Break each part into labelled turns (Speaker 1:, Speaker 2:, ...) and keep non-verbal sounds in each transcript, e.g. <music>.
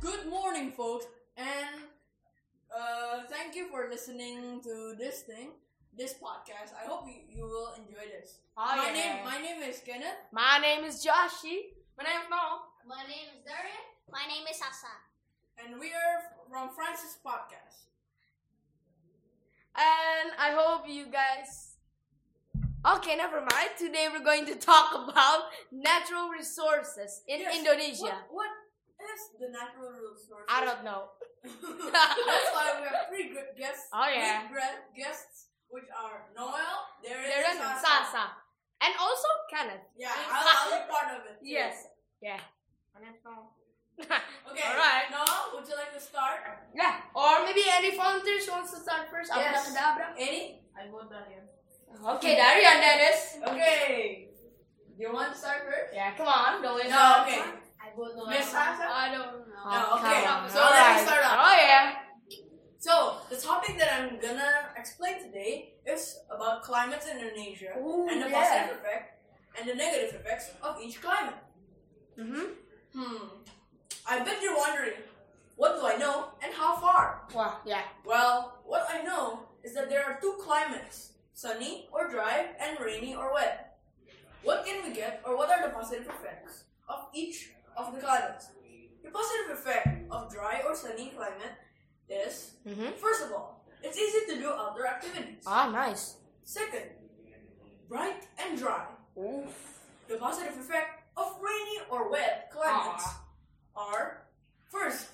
Speaker 1: Good morning, folks, and uh, thank you for listening to this thing, this podcast. I hope you, you will enjoy this.
Speaker 2: Oh,
Speaker 1: my
Speaker 2: yeah.
Speaker 1: name my name is Kenneth.
Speaker 2: My name is Joshi. My name is Mo.
Speaker 3: My name is Darren. My name is Sasa.
Speaker 1: and we are from Francis Podcast.
Speaker 2: And I hope you guys. Okay, never mind. Today we're going to talk about natural resources in
Speaker 1: Yes,
Speaker 2: Indonesia.
Speaker 1: What, what is the natural resource?
Speaker 2: I don't know.
Speaker 1: <laughs> That's why we have three good guests.
Speaker 2: Oh, yeah.
Speaker 1: Three great guests, which are Noel, Darren,
Speaker 2: There
Speaker 1: and
Speaker 2: is
Speaker 1: Sasa.
Speaker 2: Sasa. And also Kenneth.
Speaker 1: Yeah, I'll,
Speaker 2: <laughs>
Speaker 1: I'll be part of it. too.
Speaker 2: Yes. Yeah. My name's Mo.
Speaker 1: Okay.
Speaker 2: All right.
Speaker 1: Noel, would you like to start?
Speaker 2: <laughs> Yeah. Or maybe any volunteers wants to start first.
Speaker 1: Yes.
Speaker 2: Abracadabra.
Speaker 1: Any?
Speaker 2: I vote Darian. Okay, Darian, that is.
Speaker 1: Okay. You want to start first?
Speaker 2: Yeah, come on. No,
Speaker 1: No, okay.
Speaker 3: I will know.
Speaker 1: Miss Sasa?
Speaker 2: I don't know.
Speaker 1: No,
Speaker 3: Oh,
Speaker 1: okay.
Speaker 2: Oh, come on.
Speaker 1: So let me
Speaker 2: Alright.
Speaker 1: start off.
Speaker 2: Oh yeah.
Speaker 1: So, the topic that I'm gonna explain today is about climates in Indonesia and the positive effect and the negative effects of each climate.
Speaker 2: Mm-hmm.
Speaker 1: Hmm. I bet you're wondering, what do I know and how far?
Speaker 2: Wow. Yeah.
Speaker 1: Well, what I know is that there are two climates sunny or dry, and rainy or wet. What can we get, or what are the positive effects of each of the climates? The positive effect of dry or sunny climate is
Speaker 2: Mm-hmm.
Speaker 1: First of all, it's easy to do outdoor activities.
Speaker 2: Ah, nice.
Speaker 1: Second, bright and dry. The positive effect of rainy or wet climates
Speaker 2: Aw.
Speaker 1: are first,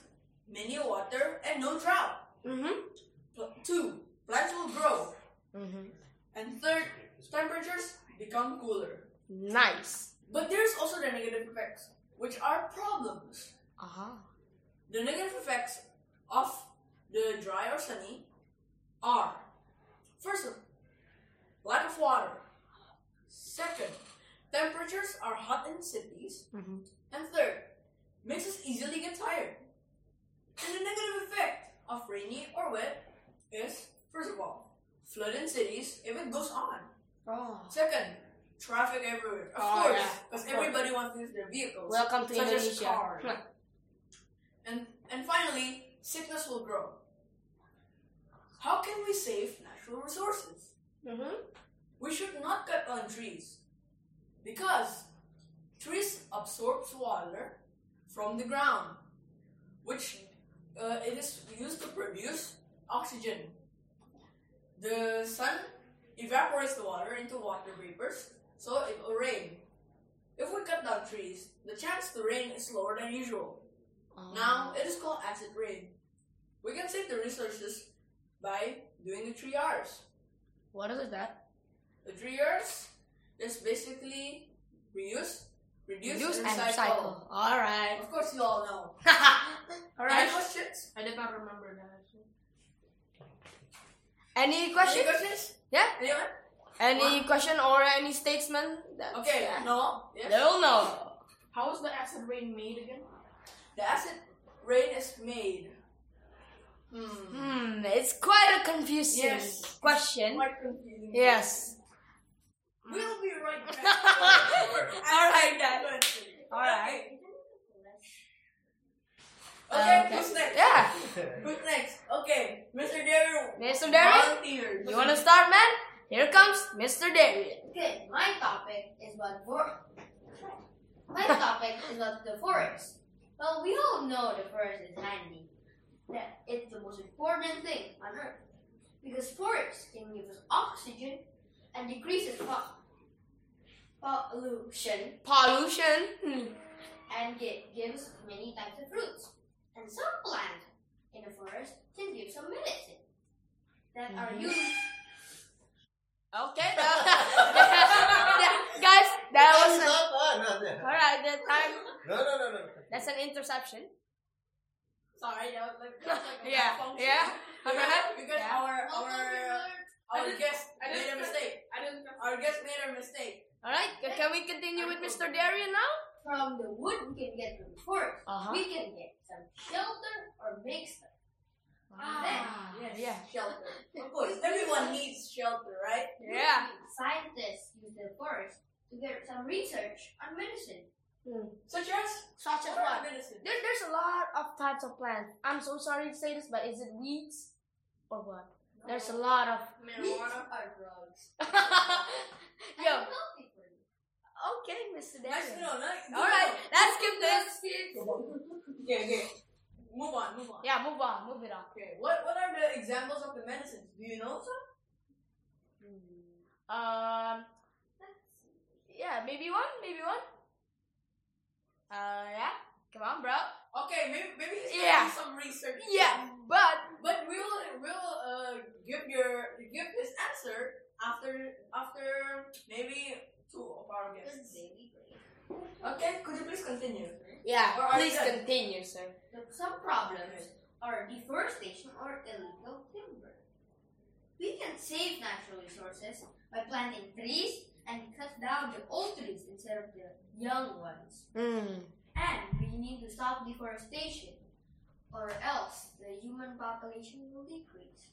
Speaker 1: many water and no drought.
Speaker 2: Mm-hmm.
Speaker 1: Pl- Two, plants will grow.
Speaker 2: Mm-hmm.
Speaker 1: And third, temperatures become cooler.
Speaker 2: Nice.
Speaker 1: But there's also the negative effects, which are problems.
Speaker 2: Ah.
Speaker 1: The negative effects of the dry or sunny are first, lack of water. Second, temperatures are hot in cities.
Speaker 2: Mm-hmm.
Speaker 1: And third, makes us easily get tired. And the negative effect of rainy or wet is first of all, flood in cities if it goes on.
Speaker 2: Oh.
Speaker 1: Second, traffic everywhere. Of
Speaker 2: Oh,
Speaker 1: course,
Speaker 2: yeah,
Speaker 1: because
Speaker 2: of course.
Speaker 1: everybody wants to use their vehicles.
Speaker 2: Welcome to
Speaker 1: such as
Speaker 2: Indonesia.
Speaker 1: cars.
Speaker 2: Huh.
Speaker 1: And and finally, sickness will grow. How can we save natural resources?
Speaker 2: Mm-hmm.
Speaker 1: We should not cut down trees because trees absorbs water from the ground, which uh, it is used to produce oxygen. The sun evaporates the water into water vapors, so it will rain. If we cut down trees, the chance to rain is lower than usual.
Speaker 2: Ah.
Speaker 1: Now it is called acid rain. We can save the resources by doing the three R's.
Speaker 2: What is that?
Speaker 1: The three R's is basically reuse, reduce,
Speaker 2: Use
Speaker 1: and
Speaker 2: and
Speaker 1: recycle.
Speaker 2: recycle. All right.
Speaker 1: Of course, you all know.
Speaker 2: All
Speaker 1: Any
Speaker 2: right.
Speaker 1: questions?
Speaker 2: I did not remember that. Any question?
Speaker 1: <laughs> Any questions?
Speaker 2: Yeah.
Speaker 1: Anyone?
Speaker 2: Any question or any statement? That's-
Speaker 1: Okay.
Speaker 2: Yeah.
Speaker 1: No. Yes.
Speaker 2: They'll know.
Speaker 4: How was the acid rain made again?
Speaker 1: The acid rain is made. Hmm.
Speaker 2: Hmm, it's quite a confusing
Speaker 1: Yes.
Speaker 2: question.
Speaker 1: Quite confusing.
Speaker 2: Yes.
Speaker 1: We'll be right
Speaker 2: <laughs>
Speaker 1: back.
Speaker 2: All right, then. All right.
Speaker 1: Okay.
Speaker 2: Uh,
Speaker 1: Okay. Who's next?
Speaker 2: Yeah.
Speaker 1: Who's next? Okay, Mr. Darryl.
Speaker 2: Mr. Derry,
Speaker 1: Volunteers.
Speaker 2: you want to start, man? Here comes Mr. Derry.
Speaker 3: Okay, my topic is about for. My topic is about the forest. Well, we all know the forest is handy. That it's the most important thing on earth because forests can give us oxygen and decreases po- pollution
Speaker 2: Pollution. Hmm.
Speaker 3: and gi- gives many types of fruits. And some plants in the forest can give some medicine that are
Speaker 2: Mm-hmm.
Speaker 3: used
Speaker 2: Okay. <laughs> that- guys, that
Speaker 1: <laughs>
Speaker 2: was a,
Speaker 5: not, no,
Speaker 2: all right. That time,
Speaker 5: no, no, no, no.
Speaker 2: that's an interception.
Speaker 1: Sorry, that
Speaker 2: <laughs>
Speaker 1: was like, that was like a
Speaker 2: Yeah,
Speaker 1: malfunction.
Speaker 2: <laughs> yeah, alright.
Speaker 1: Because
Speaker 2: Yeah.
Speaker 1: our our our guest
Speaker 4: I
Speaker 1: made a
Speaker 4: didn't-
Speaker 1: mistake.
Speaker 4: I didn't.
Speaker 1: Our guest made a mistake.
Speaker 2: All right. c- Can we continue with Mr. Derry now?
Speaker 3: from the wood we can get from the forest.
Speaker 2: Uh
Speaker 3: We can
Speaker 2: Ah,
Speaker 3: get some shelter or make stuff.
Speaker 2: Yeah.
Speaker 1: <laughs> Shelter. always. Everyone needs shelter, right?
Speaker 2: Yeah.
Speaker 3: Scientists use the forest to get some research on medicine.
Speaker 1: Such as
Speaker 2: Such as what?
Speaker 1: medicine.
Speaker 2: There, there's a lot of types of plants. I'm so sorry to say this, but is it weeds or what? There's a lot <laughs> of.
Speaker 3: Weeds
Speaker 1: Marijuana.
Speaker 3: are drugs.
Speaker 2: <laughs> Yo,
Speaker 3: And healthy for you.
Speaker 2: okay,
Speaker 1: Nice
Speaker 2: Mr.
Speaker 1: to
Speaker 2: Daniel.
Speaker 1: know, nice-
Speaker 2: All right, let's skip this.
Speaker 1: Okay, okay. Move on, move on.
Speaker 2: Yeah, move on, move it on.
Speaker 1: Okay, what what are the examples of the medicines? Do you know some?
Speaker 2: Um, yeah, maybe one, maybe one. Uh, yeah, come on, bro.
Speaker 1: Okay, maybe maybe you should
Speaker 2: Yeah.
Speaker 1: do some research.
Speaker 2: Yeah, but
Speaker 1: But we'll we'll uh give your give his answer after after maybe two of our
Speaker 3: Good
Speaker 1: guests.
Speaker 3: daily break.
Speaker 1: Okay, could you please continue?
Speaker 2: yeah,
Speaker 1: Or are you
Speaker 2: please
Speaker 1: done?
Speaker 2: continue, sir.
Speaker 3: Look, Some problems are deforestation or illegal timber. We can save natural resources by planting trees and cut down the old trees instead of the young ones.
Speaker 2: Hmm.
Speaker 3: And we need to stop deforestation, or else the human population will decrease.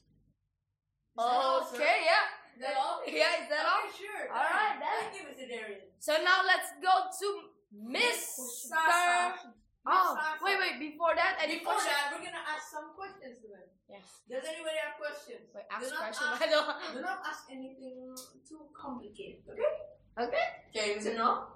Speaker 2: Okay, yeah,
Speaker 1: Is that all? sir? Is
Speaker 2: yeah. Is
Speaker 1: that
Speaker 2: that
Speaker 1: all?
Speaker 2: all?
Speaker 1: Okay, sure.
Speaker 2: All right, then.
Speaker 1: Thank you, Mr. Darian.
Speaker 2: So now let's go to Mister. Oh, wait, wait. Before that, any
Speaker 1: Before
Speaker 2: question?
Speaker 1: that, we're gonna ask some questions to them.
Speaker 2: Yes.
Speaker 1: Does anybody have questions?
Speaker 2: Wait,
Speaker 1: Do
Speaker 2: ask
Speaker 1: not
Speaker 2: question.
Speaker 1: ask-
Speaker 2: <laughs> I don't.
Speaker 1: Do not ask anything too complicated, okay?
Speaker 2: Okay.
Speaker 1: Okay, Mr. No?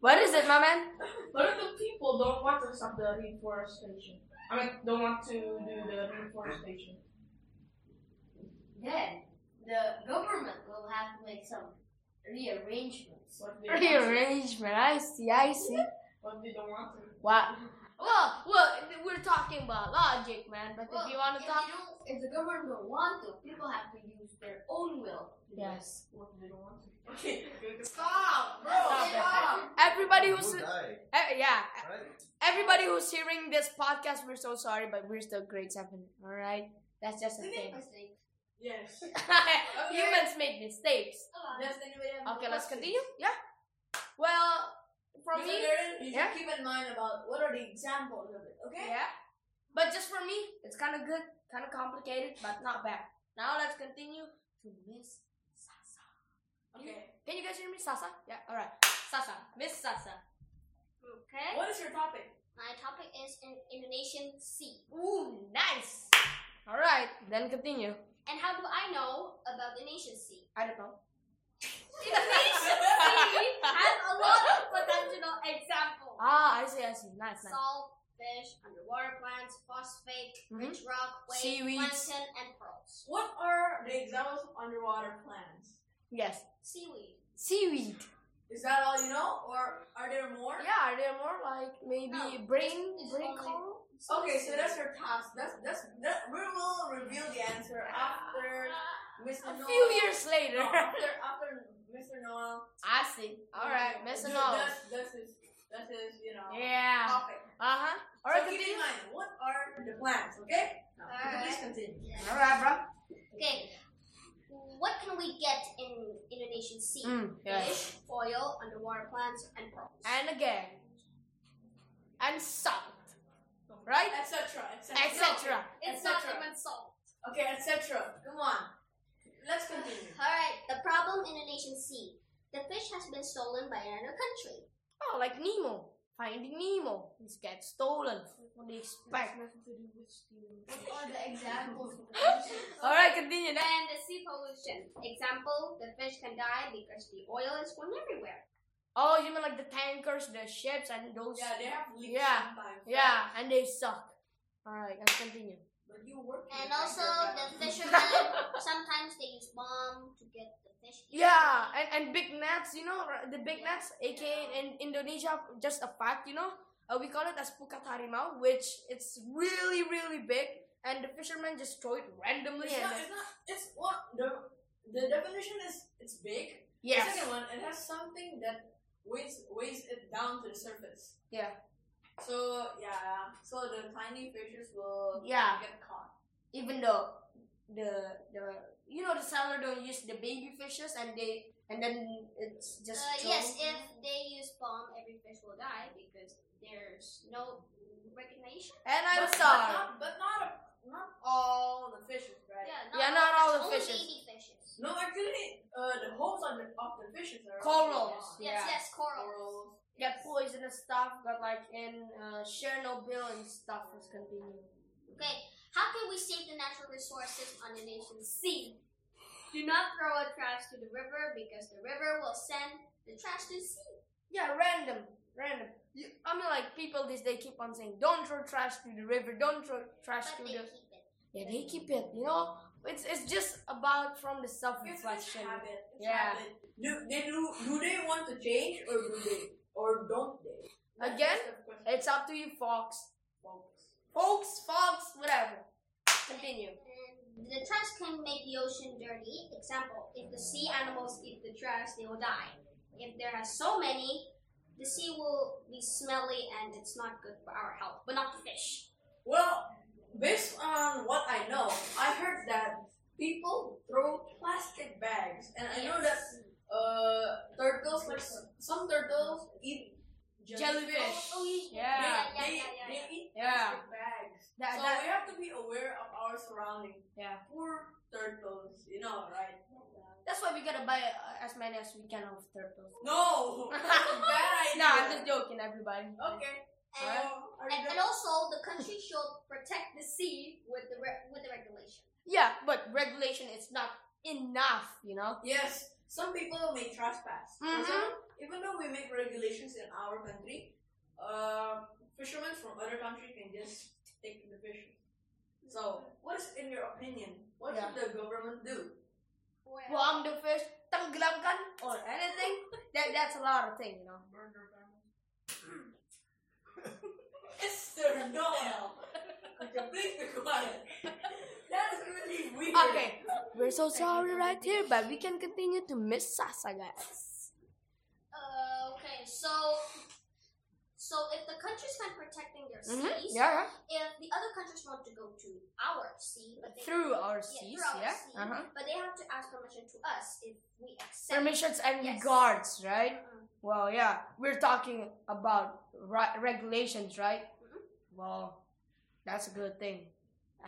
Speaker 2: What is it, my man?
Speaker 4: What if the people don't want to stop the reforestation? I mean, don't want to do the reforestation.
Speaker 3: Then the government will have to make some rearrangements.
Speaker 4: What if they don't want to?
Speaker 2: Rearrangement. I see. I see.
Speaker 4: What if they don't want to?
Speaker 2: What? Well, well, we're talking about logic, man. But
Speaker 3: Well,
Speaker 2: if you want to
Speaker 3: if
Speaker 2: talk,
Speaker 3: you don't- if the government don't want to, people have to use their own will. to do it.
Speaker 2: yes.
Speaker 4: What if they don't want to?
Speaker 1: Okay. <laughs> Stop, bro.
Speaker 2: Stop it.
Speaker 1: Stop.
Speaker 2: Everybody
Speaker 5: You
Speaker 2: who's
Speaker 5: will die,
Speaker 2: eh, yeah,
Speaker 5: right?
Speaker 2: everybody who's hearing this podcast, we're so sorry, but we're still grade seven. All right, that's just <laughs> a
Speaker 3: We make
Speaker 2: thing.
Speaker 3: mistakes.
Speaker 1: Yes.
Speaker 2: <laughs> Humans make mistakes.
Speaker 3: A lot.
Speaker 1: Does anybody have more
Speaker 2: Okay, let's
Speaker 1: questions?
Speaker 2: continue. Yeah. Well, from
Speaker 1: Mr.
Speaker 2: me,
Speaker 1: Darren, you should
Speaker 2: Yeah.
Speaker 1: keep in mind about what are the examples of it, okay?
Speaker 2: yeah. But just for me, it's kind of good, kind of complicated, but not bad. Now let's continue to Miss Sasa.
Speaker 1: Okay.
Speaker 2: Can you guys hear me, Sasa? Yeah. All right, Sasa, Miss Sasa.
Speaker 6: Okay.
Speaker 1: What is your topic?
Speaker 6: My topic is in Indonesian sea.
Speaker 2: Ooh, nice. All right, then continue.
Speaker 6: And how do I know about the Indonesian sea?
Speaker 2: I don't know.
Speaker 6: <laughs> Indonesian sea has a lot of potential examples.
Speaker 2: ah, I see, I see. Nice, nice.
Speaker 6: Salt, fish, underwater plants, phosphate, rich rock, wave,
Speaker 2: Seaweeds.
Speaker 6: plankton, and pearls.
Speaker 1: What are the examples of underwater plants?
Speaker 2: Yes.
Speaker 6: Seaweed.
Speaker 2: Seaweed.
Speaker 1: Is that all you know, or are there more?
Speaker 2: Yeah, are there more like maybe
Speaker 6: No,
Speaker 2: brain,
Speaker 6: it's
Speaker 2: brain
Speaker 6: only-
Speaker 2: coral?
Speaker 1: Okay, so that's your task. That's that's that. We will reveal the answer after Mr.
Speaker 2: A
Speaker 1: Noel.
Speaker 2: few years later.
Speaker 6: <laughs>
Speaker 1: No, after after Mr. Noel.
Speaker 2: I see. All right,
Speaker 1: That's
Speaker 2: Mr. Noel.
Speaker 1: That's his. That's his. You know.
Speaker 2: Yeah.
Speaker 1: Topic.
Speaker 2: Uh huh. All
Speaker 1: so
Speaker 2: right,
Speaker 1: keep in
Speaker 2: continue.
Speaker 1: mind what are the plans, okay? Now,
Speaker 6: Alright.
Speaker 1: Please continue.
Speaker 2: All right, bro.
Speaker 6: Okay. What can we get in Indonesian sea?
Speaker 2: Mm,
Speaker 6: Fish,
Speaker 2: yes.
Speaker 6: oil, underwater plants, and pearls.
Speaker 2: And again. And salt. Right?
Speaker 1: Etc. Etc.
Speaker 2: Etc.
Speaker 6: it's
Speaker 1: et
Speaker 6: not
Speaker 1: cetera.
Speaker 6: even salt.
Speaker 1: Okay, etc. Come on. Let's
Speaker 2: <sighs>
Speaker 1: continue.
Speaker 6: Alright, the problem in the nation sea. The fish has been stolen by another country.
Speaker 2: Oh, like Nemo. Finding Nemo. This gets stolen. What do you expect?
Speaker 3: What are the examples?
Speaker 6: <laughs>
Speaker 2: All right, continue. Next.
Speaker 6: And the sea pollution. Example, the fish can die because the oil is going everywhere.
Speaker 2: Oh, you mean like the tankers, the ships, and those?
Speaker 1: Yeah, they have leaks
Speaker 2: Yeah.
Speaker 1: sometimes.
Speaker 2: Yeah, and they suck. All right, let's continue.
Speaker 1: But you work. in
Speaker 6: And
Speaker 1: a
Speaker 6: also
Speaker 1: factory,
Speaker 6: the
Speaker 1: right?
Speaker 6: fishermen sometimes they use bomb to get the fish. Uh,
Speaker 2: Yeah, and, and big nets, you know, r- the big
Speaker 6: Yeah.
Speaker 2: nets, aka in Indonesia, just a fact, you know, uh, we call it as pukat harimau, which it's really, really big, and the fishermen just throw it randomly.
Speaker 1: It's not.
Speaker 2: and
Speaker 1: It's not. It's what the the definition is. It's big. The
Speaker 2: yes.
Speaker 1: second one, it has something that weighs weighs it down to the surface.
Speaker 2: Yeah.
Speaker 1: So yeah, so the tiny fishes will
Speaker 2: Yeah.
Speaker 1: get caught.
Speaker 2: Even though the the you know the seller don't use the baby fishes, and they and then it's
Speaker 6: Uh,
Speaker 2: just
Speaker 6: yes, if
Speaker 2: thrown.
Speaker 6: they use bomb, every fish will die because there's no recognition.
Speaker 2: and I'm
Speaker 1: but,
Speaker 2: sorry.
Speaker 1: But not, but not, a, not all No, actually, uh, the homes on the, of the fishes are
Speaker 2: Corals.
Speaker 6: Yes,
Speaker 2: Yeah.
Speaker 6: yes, corals.
Speaker 1: Corals.
Speaker 2: Got poisonous stuff, got like in uh, Chernobyl and stuff was continuing.
Speaker 6: Okay, how can we save the natural resources on the nation's sea? Do not throw out trash to the river because the river will send the trash to the sea.
Speaker 2: Yeah, random, random. You, I mean, like people these days keep on saying, "Don't throw trash to the river. Don't throw trash
Speaker 6: But
Speaker 2: to
Speaker 6: they
Speaker 2: the."
Speaker 6: keep it.
Speaker 2: Yeah, they keep it. You know, it's it's just about from the
Speaker 1: It's it's
Speaker 2: self-reflection.
Speaker 1: habit. It's
Speaker 2: Yeah.
Speaker 1: habit. Do they do do they want to change or do they or don't they? That's
Speaker 2: Again,
Speaker 1: just the question.
Speaker 2: It's up to you, folks.
Speaker 1: Folks.
Speaker 2: Folks, folks, whatever. Continue.
Speaker 6: And the trash can make the ocean dirty. Example, if the sea animals eat the trash, they will die. If there are so many, the sea will be smelly and it's not good for our health, but not the fish.
Speaker 1: Well, based on what I know, I heard that people throw plastic bags, and I know that uh, turtles, like s- some turtles, eat
Speaker 2: Jellyfish.
Speaker 6: Oh, yeah,
Speaker 2: Yeah.
Speaker 6: yeah, yeah,
Speaker 1: They,
Speaker 6: yeah, yeah,
Speaker 1: they
Speaker 6: yeah.
Speaker 1: eat
Speaker 2: Yeah.
Speaker 1: plastic bags.
Speaker 2: That,
Speaker 1: so
Speaker 2: that,
Speaker 1: we have to be aware of our surroundings.
Speaker 2: Yeah.
Speaker 1: Poor turtles, you know, right?
Speaker 2: that's why we gotta buy uh, as many as we can of turtles.
Speaker 1: No, <laughs> that's a bad idea.
Speaker 2: <laughs> Nah, I'm just joking, everybody.
Speaker 1: okay. So,
Speaker 6: And
Speaker 1: are you
Speaker 6: And, and
Speaker 1: done?
Speaker 6: also, the country should protect the sea with the re- with the regulation.
Speaker 2: Yeah, but regulation is not enough, you know?
Speaker 1: yes, some people may trespass. For
Speaker 2: Mhm.
Speaker 1: example, even though we make regulations in our country, uh, fishermen from other countries can just take the fish. So, what's in your opinion? What
Speaker 2: Yeah.
Speaker 1: should the government do?
Speaker 2: Buang the fish, tenggelamkan, or anything. That, that's a lot of thing, you know?
Speaker 1: Mr. Noel, could you please be quiet? <laughs> That is really weird.
Speaker 2: Okay, we're so sorry right here, but we can continue to Miss Sasa, guys.
Speaker 6: Uh, okay, so so if the countries can protecting their
Speaker 2: Mhm,
Speaker 6: seas,
Speaker 2: Yeah,
Speaker 6: if the other countries want to go to our sea, but they
Speaker 2: through our
Speaker 6: yeah,
Speaker 2: seas,
Speaker 6: through our
Speaker 2: yeah.
Speaker 6: sea,
Speaker 2: Uh-huh.
Speaker 6: but they have to ask permission to us if we accept.
Speaker 2: Permissions and
Speaker 6: Yes.
Speaker 2: regards, right?
Speaker 6: Mm-mm.
Speaker 2: Well, yeah, we're talking about ri- regulations, right?
Speaker 6: Mhm.
Speaker 2: Well, that's a good thing,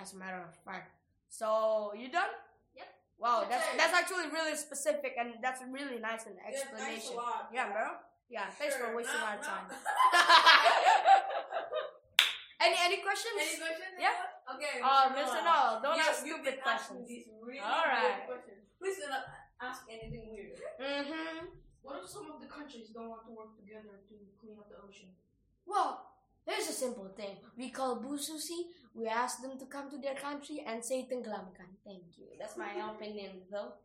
Speaker 2: as a matter of fact. So you done?
Speaker 6: Yep.
Speaker 2: Wow,
Speaker 1: Good
Speaker 2: that's
Speaker 1: job.
Speaker 2: that's actually really specific, and that's really nice an
Speaker 1: Yeah, thanks a
Speaker 2: explanation.
Speaker 1: lot.
Speaker 2: Yeah, bro. Yeah, thanks for
Speaker 1: Sure,
Speaker 2: wasting
Speaker 1: now-
Speaker 2: our
Speaker 1: now-
Speaker 2: time. <laughs> any any questions?
Speaker 1: <laughs> Any questions?
Speaker 2: Yeah.
Speaker 1: Okay.
Speaker 2: Uh, Mr. Noel, don't
Speaker 1: you,
Speaker 2: ask
Speaker 1: you've
Speaker 2: stupid
Speaker 1: been asking
Speaker 2: questions.
Speaker 1: These really
Speaker 2: All right.
Speaker 1: weird questions. Please do not ask anything weird.
Speaker 2: Mm-hmm.
Speaker 4: What if some of the countries don't want to work together to clean up the ocean?
Speaker 2: Well, there's a simple thing. We call Bususi, we ask them to come to their country and say Tenggelamkan. Thank you. That's my opinion, though.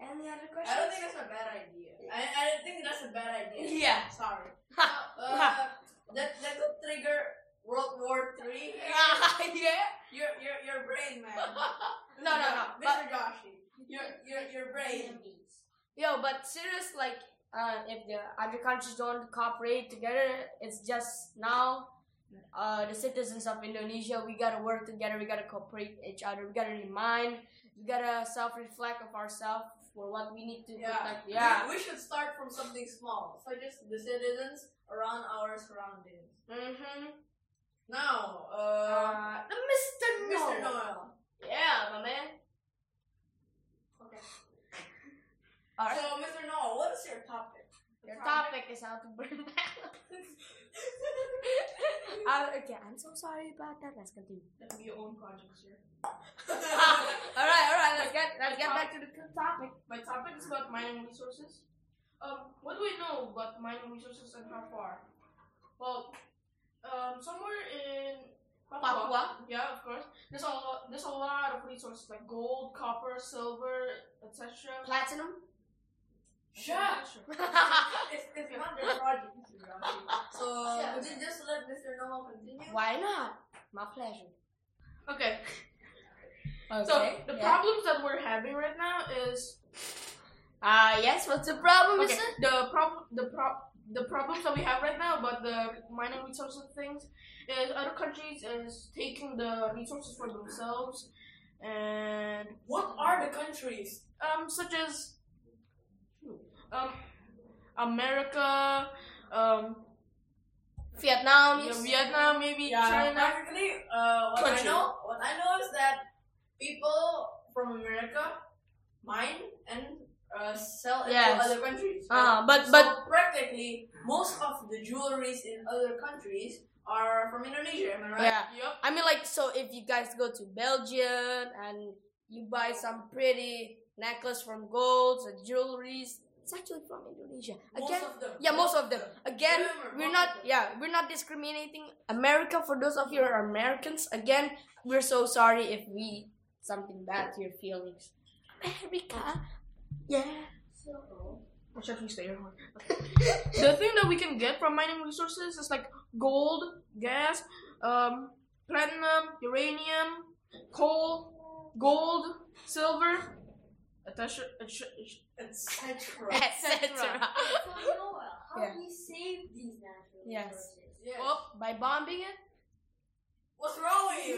Speaker 2: Any
Speaker 1: I
Speaker 2: other
Speaker 1: don't
Speaker 2: questions?
Speaker 1: think that's a bad idea. I, I don't think that's a bad idea.
Speaker 2: Yeah.
Speaker 1: Sorry. Uh, that that could trigger World War Three.
Speaker 2: <laughs> <laughs> yeah?
Speaker 1: Your your your brain, man.
Speaker 2: No, no, no,
Speaker 1: Mr. Joshi, your your your brain.
Speaker 2: Yo, but serious, like, uh, if the other countries don't cooperate together, it's just now, uh, the citizens of Indonesia, we gotta work together, we gotta cooperate each other, we gotta remind, we gotta self-reflect of ourselves for what we need to
Speaker 1: Yeah.
Speaker 2: protect. Yeah.
Speaker 1: We, we should start from something small. So just the citizens around our surroundings.
Speaker 2: Mm-hmm.
Speaker 1: Now, uh,
Speaker 2: Uh, Mr. No.
Speaker 1: Mr. Noel.
Speaker 2: Yeah, my man.
Speaker 1: Okay.
Speaker 2: All
Speaker 1: So,
Speaker 2: right.
Speaker 1: Mr. Noel, what is your topic?
Speaker 2: Your topic is how to burn down. <laughs> uh, okay, I'm so sorry about that. Let's continue.
Speaker 4: That would be your own project, sir.
Speaker 2: <laughs> all right, all right. Let's get let's get back to the topic.
Speaker 4: My topic is about mining resources. Um, what do we know about mining resources and how far? Well, um, somewhere in Papua,
Speaker 2: Papua.
Speaker 4: yeah, of course. There's a lot, there's a lot of resources like gold, copper, silver, etc.
Speaker 2: Platinum.
Speaker 1: Sure. It's, it's not their project, Mr. Joshi. <laughs> So,
Speaker 2: Yeah.
Speaker 1: would Uh, you just let Mr. Noel continue?
Speaker 2: Why not? My pleasure.
Speaker 4: Okay,
Speaker 2: Okay.
Speaker 4: so the
Speaker 2: yeah.
Speaker 4: problems that we're having right now is
Speaker 2: Ah yes. What's the problem,
Speaker 4: okay,
Speaker 2: Mister?
Speaker 4: the problem the prob the problems that we have right now about the mining resources things is other countries is taking the resources for themselves and
Speaker 1: What are the countries?
Speaker 4: um such as um America um
Speaker 2: Vietnam.
Speaker 4: yeah,
Speaker 2: yes.
Speaker 4: Vietnam maybe China
Speaker 1: Practically, uh, what I
Speaker 4: Country.
Speaker 1: know, what I know is that people from America mine and uh, sell it
Speaker 2: Yes.
Speaker 1: to other countries.
Speaker 2: Uh, but
Speaker 1: So
Speaker 2: but
Speaker 1: practically most of the jewelries in other countries are from Indonesia. Am I right?
Speaker 2: yeah.
Speaker 4: Yep.
Speaker 2: I mean, like, so if you guys go to Belgium and you buy some pretty necklace from golds or jewelries, it's actually from Indonesia.
Speaker 1: Most
Speaker 2: Again,
Speaker 1: of them.
Speaker 2: yeah, most of them. Again,
Speaker 1: Remember,
Speaker 2: we're
Speaker 1: most
Speaker 2: not,
Speaker 1: of them.
Speaker 2: yeah, we're not discriminating America. For those of you who are Americans, again, we're so sorry if we something bad to your feelings. America, <laughs> yeah.
Speaker 4: Or should we stay here? the thing that we can get from mining resources is like gold, gas, um, platinum, uranium, coal, gold, silver, etc.
Speaker 1: <laughs> etc.
Speaker 2: <laughs> Etc.
Speaker 3: So Noah, how
Speaker 2: Yeah.
Speaker 3: do we save these natural
Speaker 2: Yes.
Speaker 3: resources?
Speaker 1: Yes.
Speaker 4: Well,
Speaker 2: By bombing it.
Speaker 1: What's wrong with
Speaker 2: <laughs>
Speaker 1: you?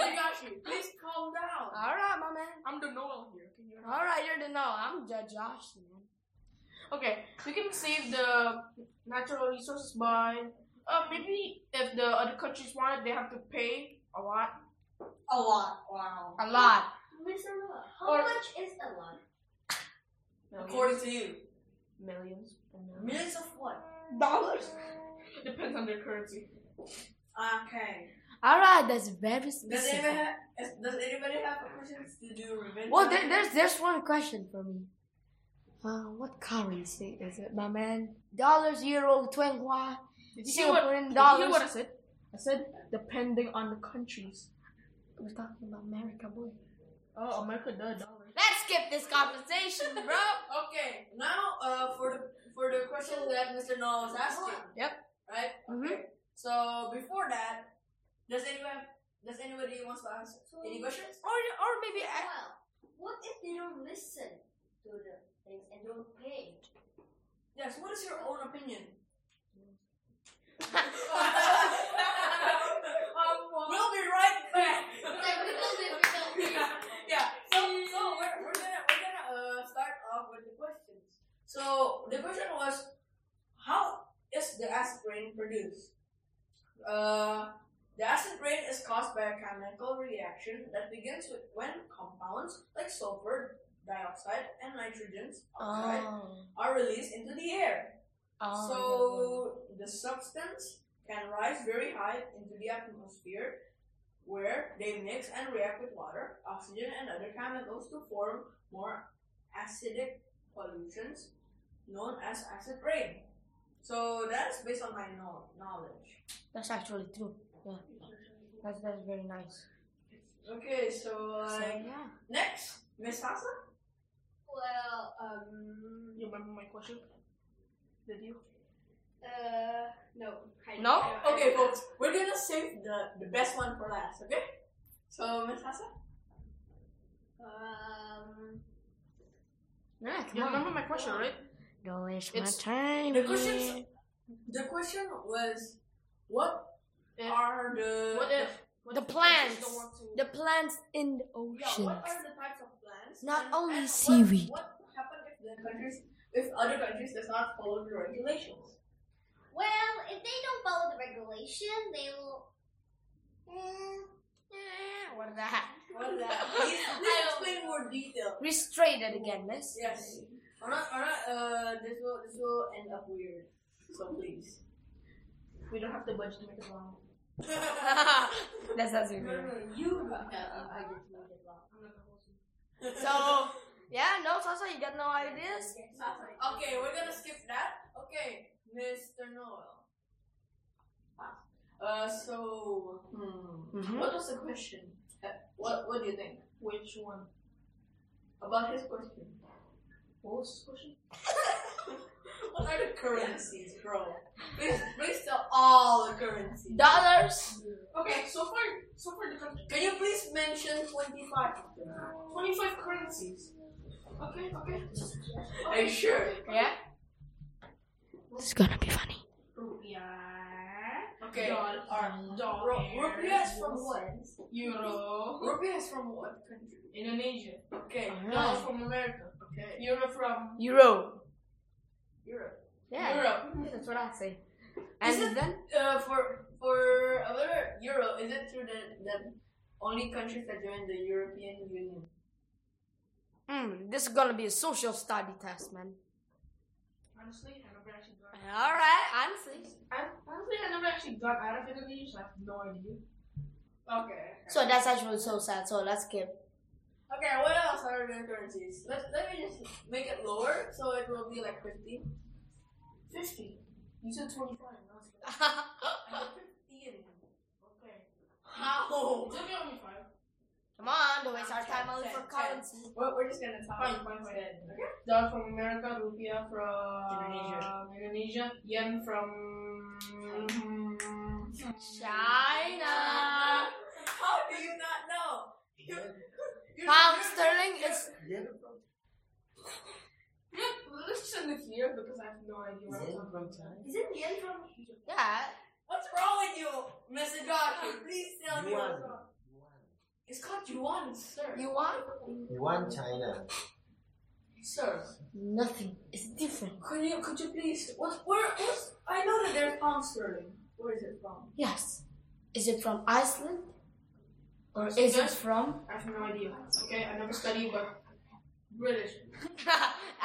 Speaker 1: Yoshigashi, Please calm down.
Speaker 2: All right, my man.
Speaker 4: I'm the Noel here. Can you
Speaker 2: All right, you're the no. I'm Judge Josh, man.
Speaker 4: Okay, we can save the natural resources by uh, maybe if the other countries want it, they have to pay a lot.
Speaker 3: A lot. Wow.
Speaker 2: A lot.
Speaker 3: Mr. Noah, how
Speaker 4: Or-
Speaker 3: much is a lot?
Speaker 1: According to you,
Speaker 4: millions and millions.
Speaker 1: millions of what?
Speaker 2: Dollars.
Speaker 4: Depends on their currency.
Speaker 1: Okay.
Speaker 2: All right, that's very
Speaker 1: Does anybody
Speaker 2: specific.
Speaker 1: have, is- does anybody have questions to do revenge?
Speaker 2: Well,
Speaker 1: on?
Speaker 2: there, there's there's one question for me. Uh, what currency is it, my man? Dollars, euro, twenghua,
Speaker 4: Did you hear what,
Speaker 2: Singaporean
Speaker 4: did you hear
Speaker 2: dollars.
Speaker 4: what I said? I said depending on the countries.
Speaker 2: We're talking about America, boy.
Speaker 4: Oh, America, the dollar.
Speaker 2: Let's skip this conversation, bro.
Speaker 1: Okay, now uh, for the for the question that Mr. Noah was asking.
Speaker 2: Yep.
Speaker 1: Right.
Speaker 2: Mhm.
Speaker 1: Okay. So before that, does anyone does anybody wants to answer
Speaker 3: So-
Speaker 1: any questions?
Speaker 2: or or maybe I,
Speaker 3: Well, what if they don't listen to the things and don't pay?
Speaker 1: Yes. What is your own opinion? we'll be right back.
Speaker 3: Like, we don't live, we don't pay.
Speaker 1: yeah. So, so we're, we're gonna we're gonna uh, start off with the questions. So the question was, how is the acid rain produced? Uh, the acid rain is caused by a chemical reaction that begins with when compounds like sulfur dioxide and nitrogen oxide are released into the air.
Speaker 2: oh,
Speaker 1: So the substance can rise very high into the atmosphere where they mix and react with water, oxygen, and other chemicals to form more acidic pollutions known as acid rain. So that's based on my know- knowledge.
Speaker 2: that's actually true. Yeah, that's that's very nice.
Speaker 1: Okay, so
Speaker 2: So,
Speaker 1: like
Speaker 2: yeah.
Speaker 1: next, Miss Hasa?
Speaker 3: Well, um,
Speaker 4: You remember my question? Did you?
Speaker 6: Uh, no. I-
Speaker 2: No?
Speaker 6: I- I-
Speaker 1: Okay, folks, we're gonna save the, the best one for last, okay? So Miss Hasa?
Speaker 3: um,
Speaker 2: Yeah, come
Speaker 4: You
Speaker 2: on.
Speaker 4: remember my question, right?
Speaker 2: Don't waste
Speaker 4: It's-
Speaker 2: my time.
Speaker 1: The questions.
Speaker 2: man.
Speaker 1: The question was, what
Speaker 4: If-
Speaker 1: are the
Speaker 4: What if? What
Speaker 2: The
Speaker 4: if countries
Speaker 2: plants.
Speaker 4: don't want to-
Speaker 2: The plants in the
Speaker 1: Yeah,
Speaker 2: ocean.
Speaker 1: what are the types of plants?
Speaker 2: Not
Speaker 1: and-
Speaker 2: only
Speaker 1: and what-
Speaker 2: seaweed.
Speaker 1: What, happens if the countries, if other countries does not follow the regulations?
Speaker 6: Well, if they don't follow the regulation, they'll. Eh,
Speaker 2: Eh, what is that?
Speaker 1: What is <laughs> that? Please, please explain more detail.
Speaker 2: Restrain it again, miss.
Speaker 1: Yes. Or not, or not, uh, this will, this will end up weird. So please.
Speaker 4: We don't have the budget to make
Speaker 1: <laughs>
Speaker 4: it long.
Speaker 2: That's that's
Speaker 1: No,
Speaker 2: <laughs> it.
Speaker 1: no, you.
Speaker 3: I just made it wrong.
Speaker 2: So yeah, no, Sasa, you got no ideas.
Speaker 1: Okay, we're gonna skip that. Okay, Mr. Noel. Ah, Uh, so, hmm,
Speaker 2: Mhm.
Speaker 1: what was the question? Uh, what What do you think?
Speaker 4: Which one?
Speaker 1: About his question.
Speaker 4: What was this question?
Speaker 1: <laughs> What are the currencies, bro? Please, please tell all the currencies.
Speaker 2: Dollars.
Speaker 4: Okay, so far, so far the country.
Speaker 1: Can you please mention 25 of them?
Speaker 4: 25 currencies. Okay, okay.
Speaker 1: Are you sure?
Speaker 2: Yeah. This is gonna be funny.
Speaker 4: Rupiah.
Speaker 1: Okay.
Speaker 4: Dollar.
Speaker 1: Alright.
Speaker 4: Dollar.
Speaker 1: Ru- Rupiah is from what?
Speaker 4: Euro.
Speaker 1: Rupiah is from what country?
Speaker 4: Indonesia.
Speaker 1: Okay.
Speaker 4: Dollar from America.
Speaker 1: Okay.
Speaker 4: Euro from
Speaker 2: Euro.
Speaker 1: Europe.
Speaker 2: Yeah.
Speaker 4: Europe.
Speaker 2: yeah, that's what I say. And
Speaker 1: Is it-
Speaker 2: then
Speaker 1: Uh, for for another euro, is it through the the only countries that join the European Union?
Speaker 2: Mm, this is gonna be a social study test, man.
Speaker 4: Honestly, I never actually got.
Speaker 2: All right, honestly.
Speaker 4: I honestly I never actually got out of Italy, so I have no idea.
Speaker 1: Okay.
Speaker 2: So that's actually so sad. So let's skip.
Speaker 1: Okay, what else are there currencies? Let, let me just make it lower so it will be like 50. 50? You said 25. I was like, I said 50 and. Okay. How?
Speaker 4: It's only only five.
Speaker 2: Come on, don't waste our time only for
Speaker 1: Ten, ten.
Speaker 2: currency.
Speaker 1: We're, we're just gonna talk
Speaker 4: Fine, fine, fine.
Speaker 1: instead.
Speaker 4: Dollar from America, rupiah from
Speaker 1: Indonesia.
Speaker 4: Indonesia, yen from
Speaker 1: Mm.
Speaker 2: China.
Speaker 1: How do you not know? You, you,
Speaker 2: Pound
Speaker 1: you-
Speaker 2: sterling
Speaker 1: you-
Speaker 2: is
Speaker 5: Yen from
Speaker 4: Yeah, let's just end it here because I have no idea what I'm
Speaker 5: Yen
Speaker 4: talking
Speaker 5: from
Speaker 4: about.
Speaker 5: China.
Speaker 1: Is it the end from?
Speaker 2: yeah.
Speaker 1: What's wrong with you, Mr. Doctor? Please tell me
Speaker 5: Yuan.
Speaker 1: what's wrong. It's called Yuan, sir.
Speaker 2: You want
Speaker 5: Yuan China.
Speaker 1: sir,
Speaker 2: nothing. It's different.
Speaker 1: could you could you please? What where? What's, I know that there's pound sterling. Where is it from?
Speaker 2: Yes. Is it from Iceland or is it from?
Speaker 4: I have no idea. Okay, I never studied, but British.
Speaker 2: <laughs>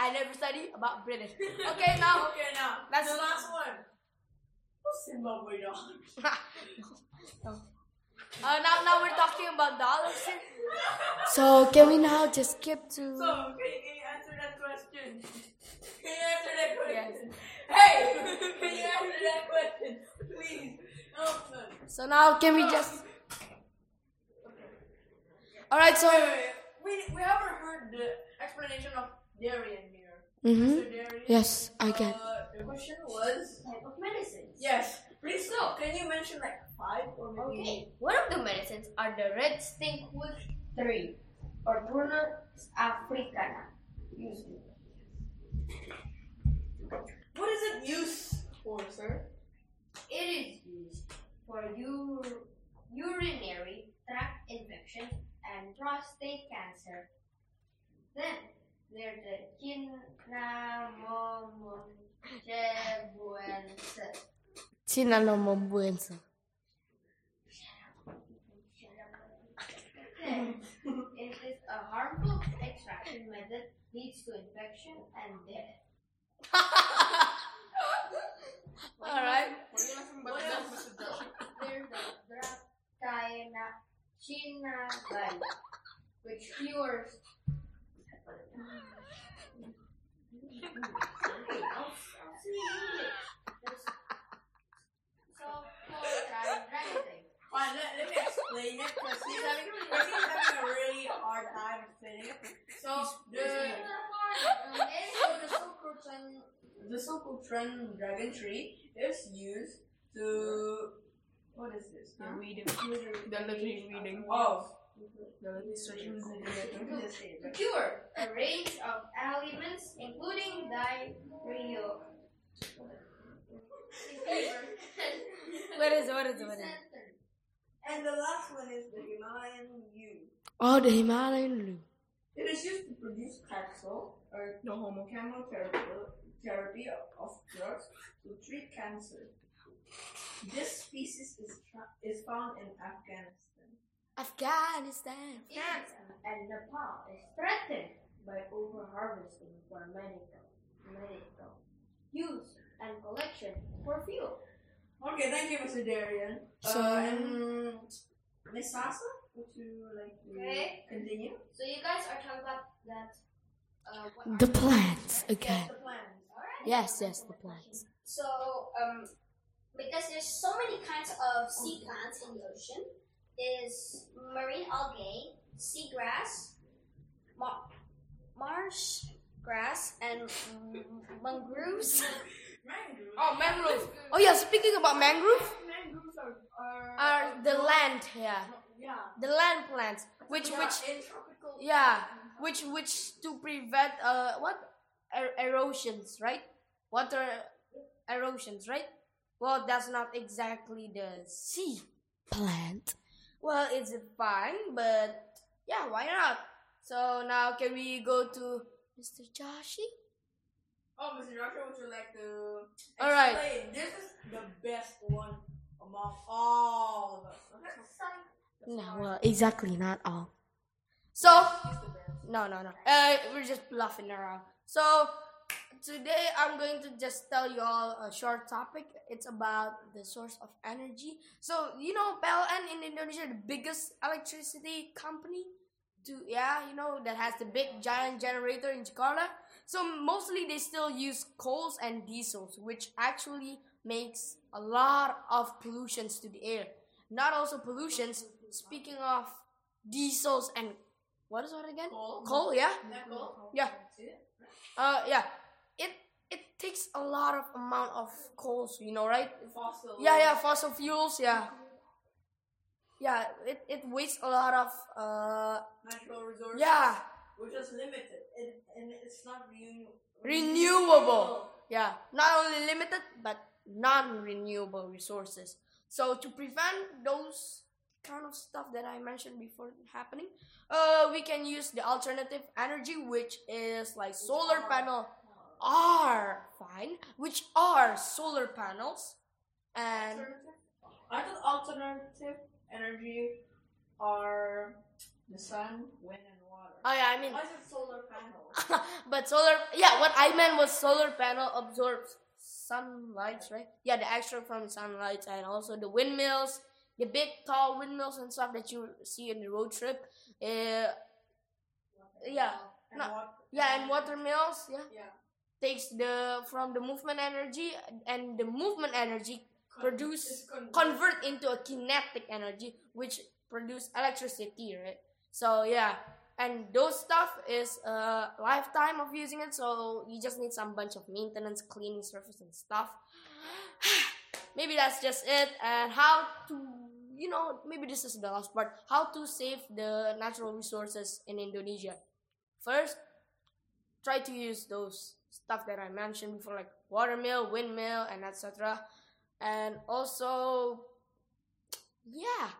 Speaker 2: I never study
Speaker 1: <laughs>
Speaker 2: about British. Okay, now.
Speaker 1: Okay, now
Speaker 2: That's-
Speaker 1: the last one. What's Zimbabwe dog?
Speaker 2: Uh, now, now we're talking about dollars. So can we now just skip to?
Speaker 1: So can you, can you answer that question? Can you answer that question?
Speaker 2: Yes.
Speaker 1: Hey, <laughs> can you answer that question, please? Help us.
Speaker 2: So now can we just? All right. So.
Speaker 1: We, we haven't heard the explanation of Darien here.
Speaker 2: Mm-hmm.
Speaker 1: Mr. Darien,
Speaker 2: Yes, I get.
Speaker 1: Uh, the question was
Speaker 3: Type of medicines.
Speaker 1: yes. Please no. Can you mention like five or maybe?
Speaker 3: Okay, one of the medicines are the red stinkwood 3 or Prunus africana. Used
Speaker 1: What is it used for, sir?
Speaker 3: It is used for u- urinary tract infection and prostate cancer. Then there's the cinnamomongebuensis.
Speaker 2: Tina no mo buenso.
Speaker 3: it is a harmful extraction method leads to infection and death.
Speaker 2: <laughs> All right.
Speaker 4: What are you laughing about? That's Mr. Josh.
Speaker 3: There's the Dracina Chinagai, which cures. Sulfur
Speaker 1: Fine, let, let me explain it because he's having, he's having a really hard time explaining it. So the so the Sokotan the Sokotran dragon tree is used to what is this?
Speaker 4: They're
Speaker 1: Huh?
Speaker 4: reading. They're literally reading.
Speaker 1: Oh,
Speaker 4: They're literally searching Google.
Speaker 3: To cure a range of ailments, including diarrhea.
Speaker 2: What is it? What is it? What is it?
Speaker 1: and the last one is the Himalayan yew.
Speaker 2: Oh, the Himalayan blue.
Speaker 1: It is used to produce Taxol or
Speaker 4: No homo.
Speaker 1: chemotherapy therapy of drugs to treat cancer. This species is tra- is found in Afghanistan.
Speaker 2: Afghanistan.
Speaker 3: India and Nepal is threatened by overharvesting for medical, medical use and collection for fuel.
Speaker 1: Okay, thank you, Mr. Darian.
Speaker 2: So-
Speaker 1: uh, and Miss Sasa, would you like to
Speaker 3: Okay.
Speaker 1: continue?
Speaker 3: So you guys are talking about that. Uh, what
Speaker 2: The
Speaker 3: are-
Speaker 2: plants. Okay.
Speaker 1: Yes, the plans.
Speaker 3: Alright.
Speaker 2: Yes, yes, the plants.
Speaker 6: So, um, because there's so many kinds of sea plants in the ocean, there's marine algae, seagrass, mar- marsh grass, and mm, mangroves.
Speaker 1: Mangroves.
Speaker 2: Oh, mangrove. Oh yeah. Speaking about mangrove,
Speaker 1: Mangroves are, are,
Speaker 2: are the land here,
Speaker 1: yeah.
Speaker 2: the land plants, which
Speaker 1: yeah,
Speaker 2: which
Speaker 1: in tropical
Speaker 2: Yeah, which which to prevent uh what er- erosions, right? Water erosions, right? Well, that's not exactly the sea plant. Well, it's fine, but yeah, why not? So now can we go to Mr. Joshi?
Speaker 1: Oh, Mr. Joshua, would you like to explain?
Speaker 2: All right.
Speaker 1: This is the best one among all of us. Okay.
Speaker 2: No, well, exactly not all. So
Speaker 1: He's the best.
Speaker 2: No, no, no. Uh, we're just bluffing around. So today I'm going to just tell you all a short topic. It's about the source of energy. So you know PLN in Indonesia, the biggest electricity company. To yeah, you know that has the big giant generator in Jakarta. So mostly they still use coals and diesels, which actually makes a lot of pollutions to the air. Not also pollutions. Speaking of diesels and what is it again?
Speaker 1: Coal.
Speaker 2: Coal, yeah.
Speaker 1: Isn't that cool?
Speaker 2: Yeah.
Speaker 1: That's it.
Speaker 2: Uh, yeah. It it takes a lot of amount of coals, you know, right?
Speaker 1: Fossil.
Speaker 2: Yeah, yeah, fossil fuels, yeah. Yeah, it, it wastes a lot of uh
Speaker 1: Natural resources.
Speaker 2: yeah,
Speaker 1: Which is limited and, and it's not renew-
Speaker 2: renewable. Yeah, not only limited but non-renewable resources. So to prevent those kind of stuff that I mentioned before happening, uh, we can use the alternative energy, which is like solar panel. Are fine, which are solar panels, and
Speaker 1: I thought alternative energy are the sun, wind, and water.
Speaker 2: oh yeah, I mean
Speaker 1: Why is it solar panel?
Speaker 2: but solar yeah what i meant was solar panel absorbs sunlight right yeah the extra from sunlight and also the windmills the big tall windmills and stuff that you see in the road trip uh, yeah
Speaker 1: And
Speaker 2: No.
Speaker 1: water.
Speaker 2: yeah and water mills yeah
Speaker 1: Yeah.
Speaker 2: takes the from the movement energy and the movement energy
Speaker 1: Con-
Speaker 2: Produce-
Speaker 1: it's con-
Speaker 2: convert into a kinetic energy which produce electricity right so yeah and those stuff is a lifetime of using it so you just need some bunch of maintenance cleaning surface and stuff maybe that's just it and how to you know maybe this is the last part how to save the natural resources in indonesia first try to use those stuff that i mentioned before like watermill windmill and etc and also yeah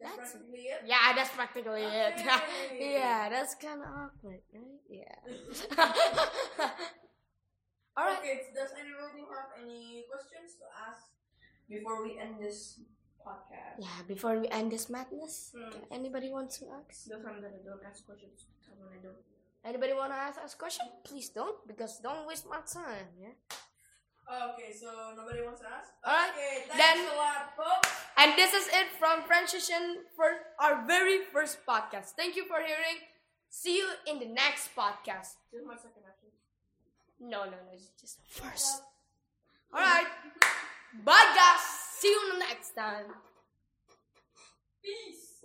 Speaker 1: That's
Speaker 2: that's
Speaker 1: practically it.
Speaker 2: yeah that's practically it <laughs>
Speaker 1: Okay.
Speaker 2: yeah that's kind of awkward right yeah all right
Speaker 1: Okay, does anyone who have any questions to ask before we end this podcast?
Speaker 2: yeah before we end this madness
Speaker 4: Hmm.
Speaker 2: anybody wants to ask
Speaker 4: That's what I'm gonna do. Ask questions. Tell when I do.
Speaker 2: anybody want to ask us question please don't because don't waste my time yeah
Speaker 1: Okay, so nobody wants to ask?
Speaker 2: Alright,
Speaker 1: Okay, thanks
Speaker 2: then-
Speaker 1: a lot,
Speaker 4: Oh.
Speaker 1: folks.
Speaker 2: and this is it from transition for our very first podcast thank you for hearing see you in the next podcast
Speaker 4: This is my second action.
Speaker 2: No, no, no, it's just the first. All right. Bye, guys. See you next time. Peace.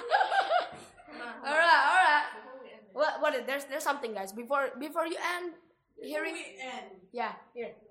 Speaker 2: <laughs> all right, all right. What? What? There's, there's something, guys. Before, before you end,
Speaker 1: Here
Speaker 2: hearing.
Speaker 1: we end.
Speaker 2: Yeah. Here.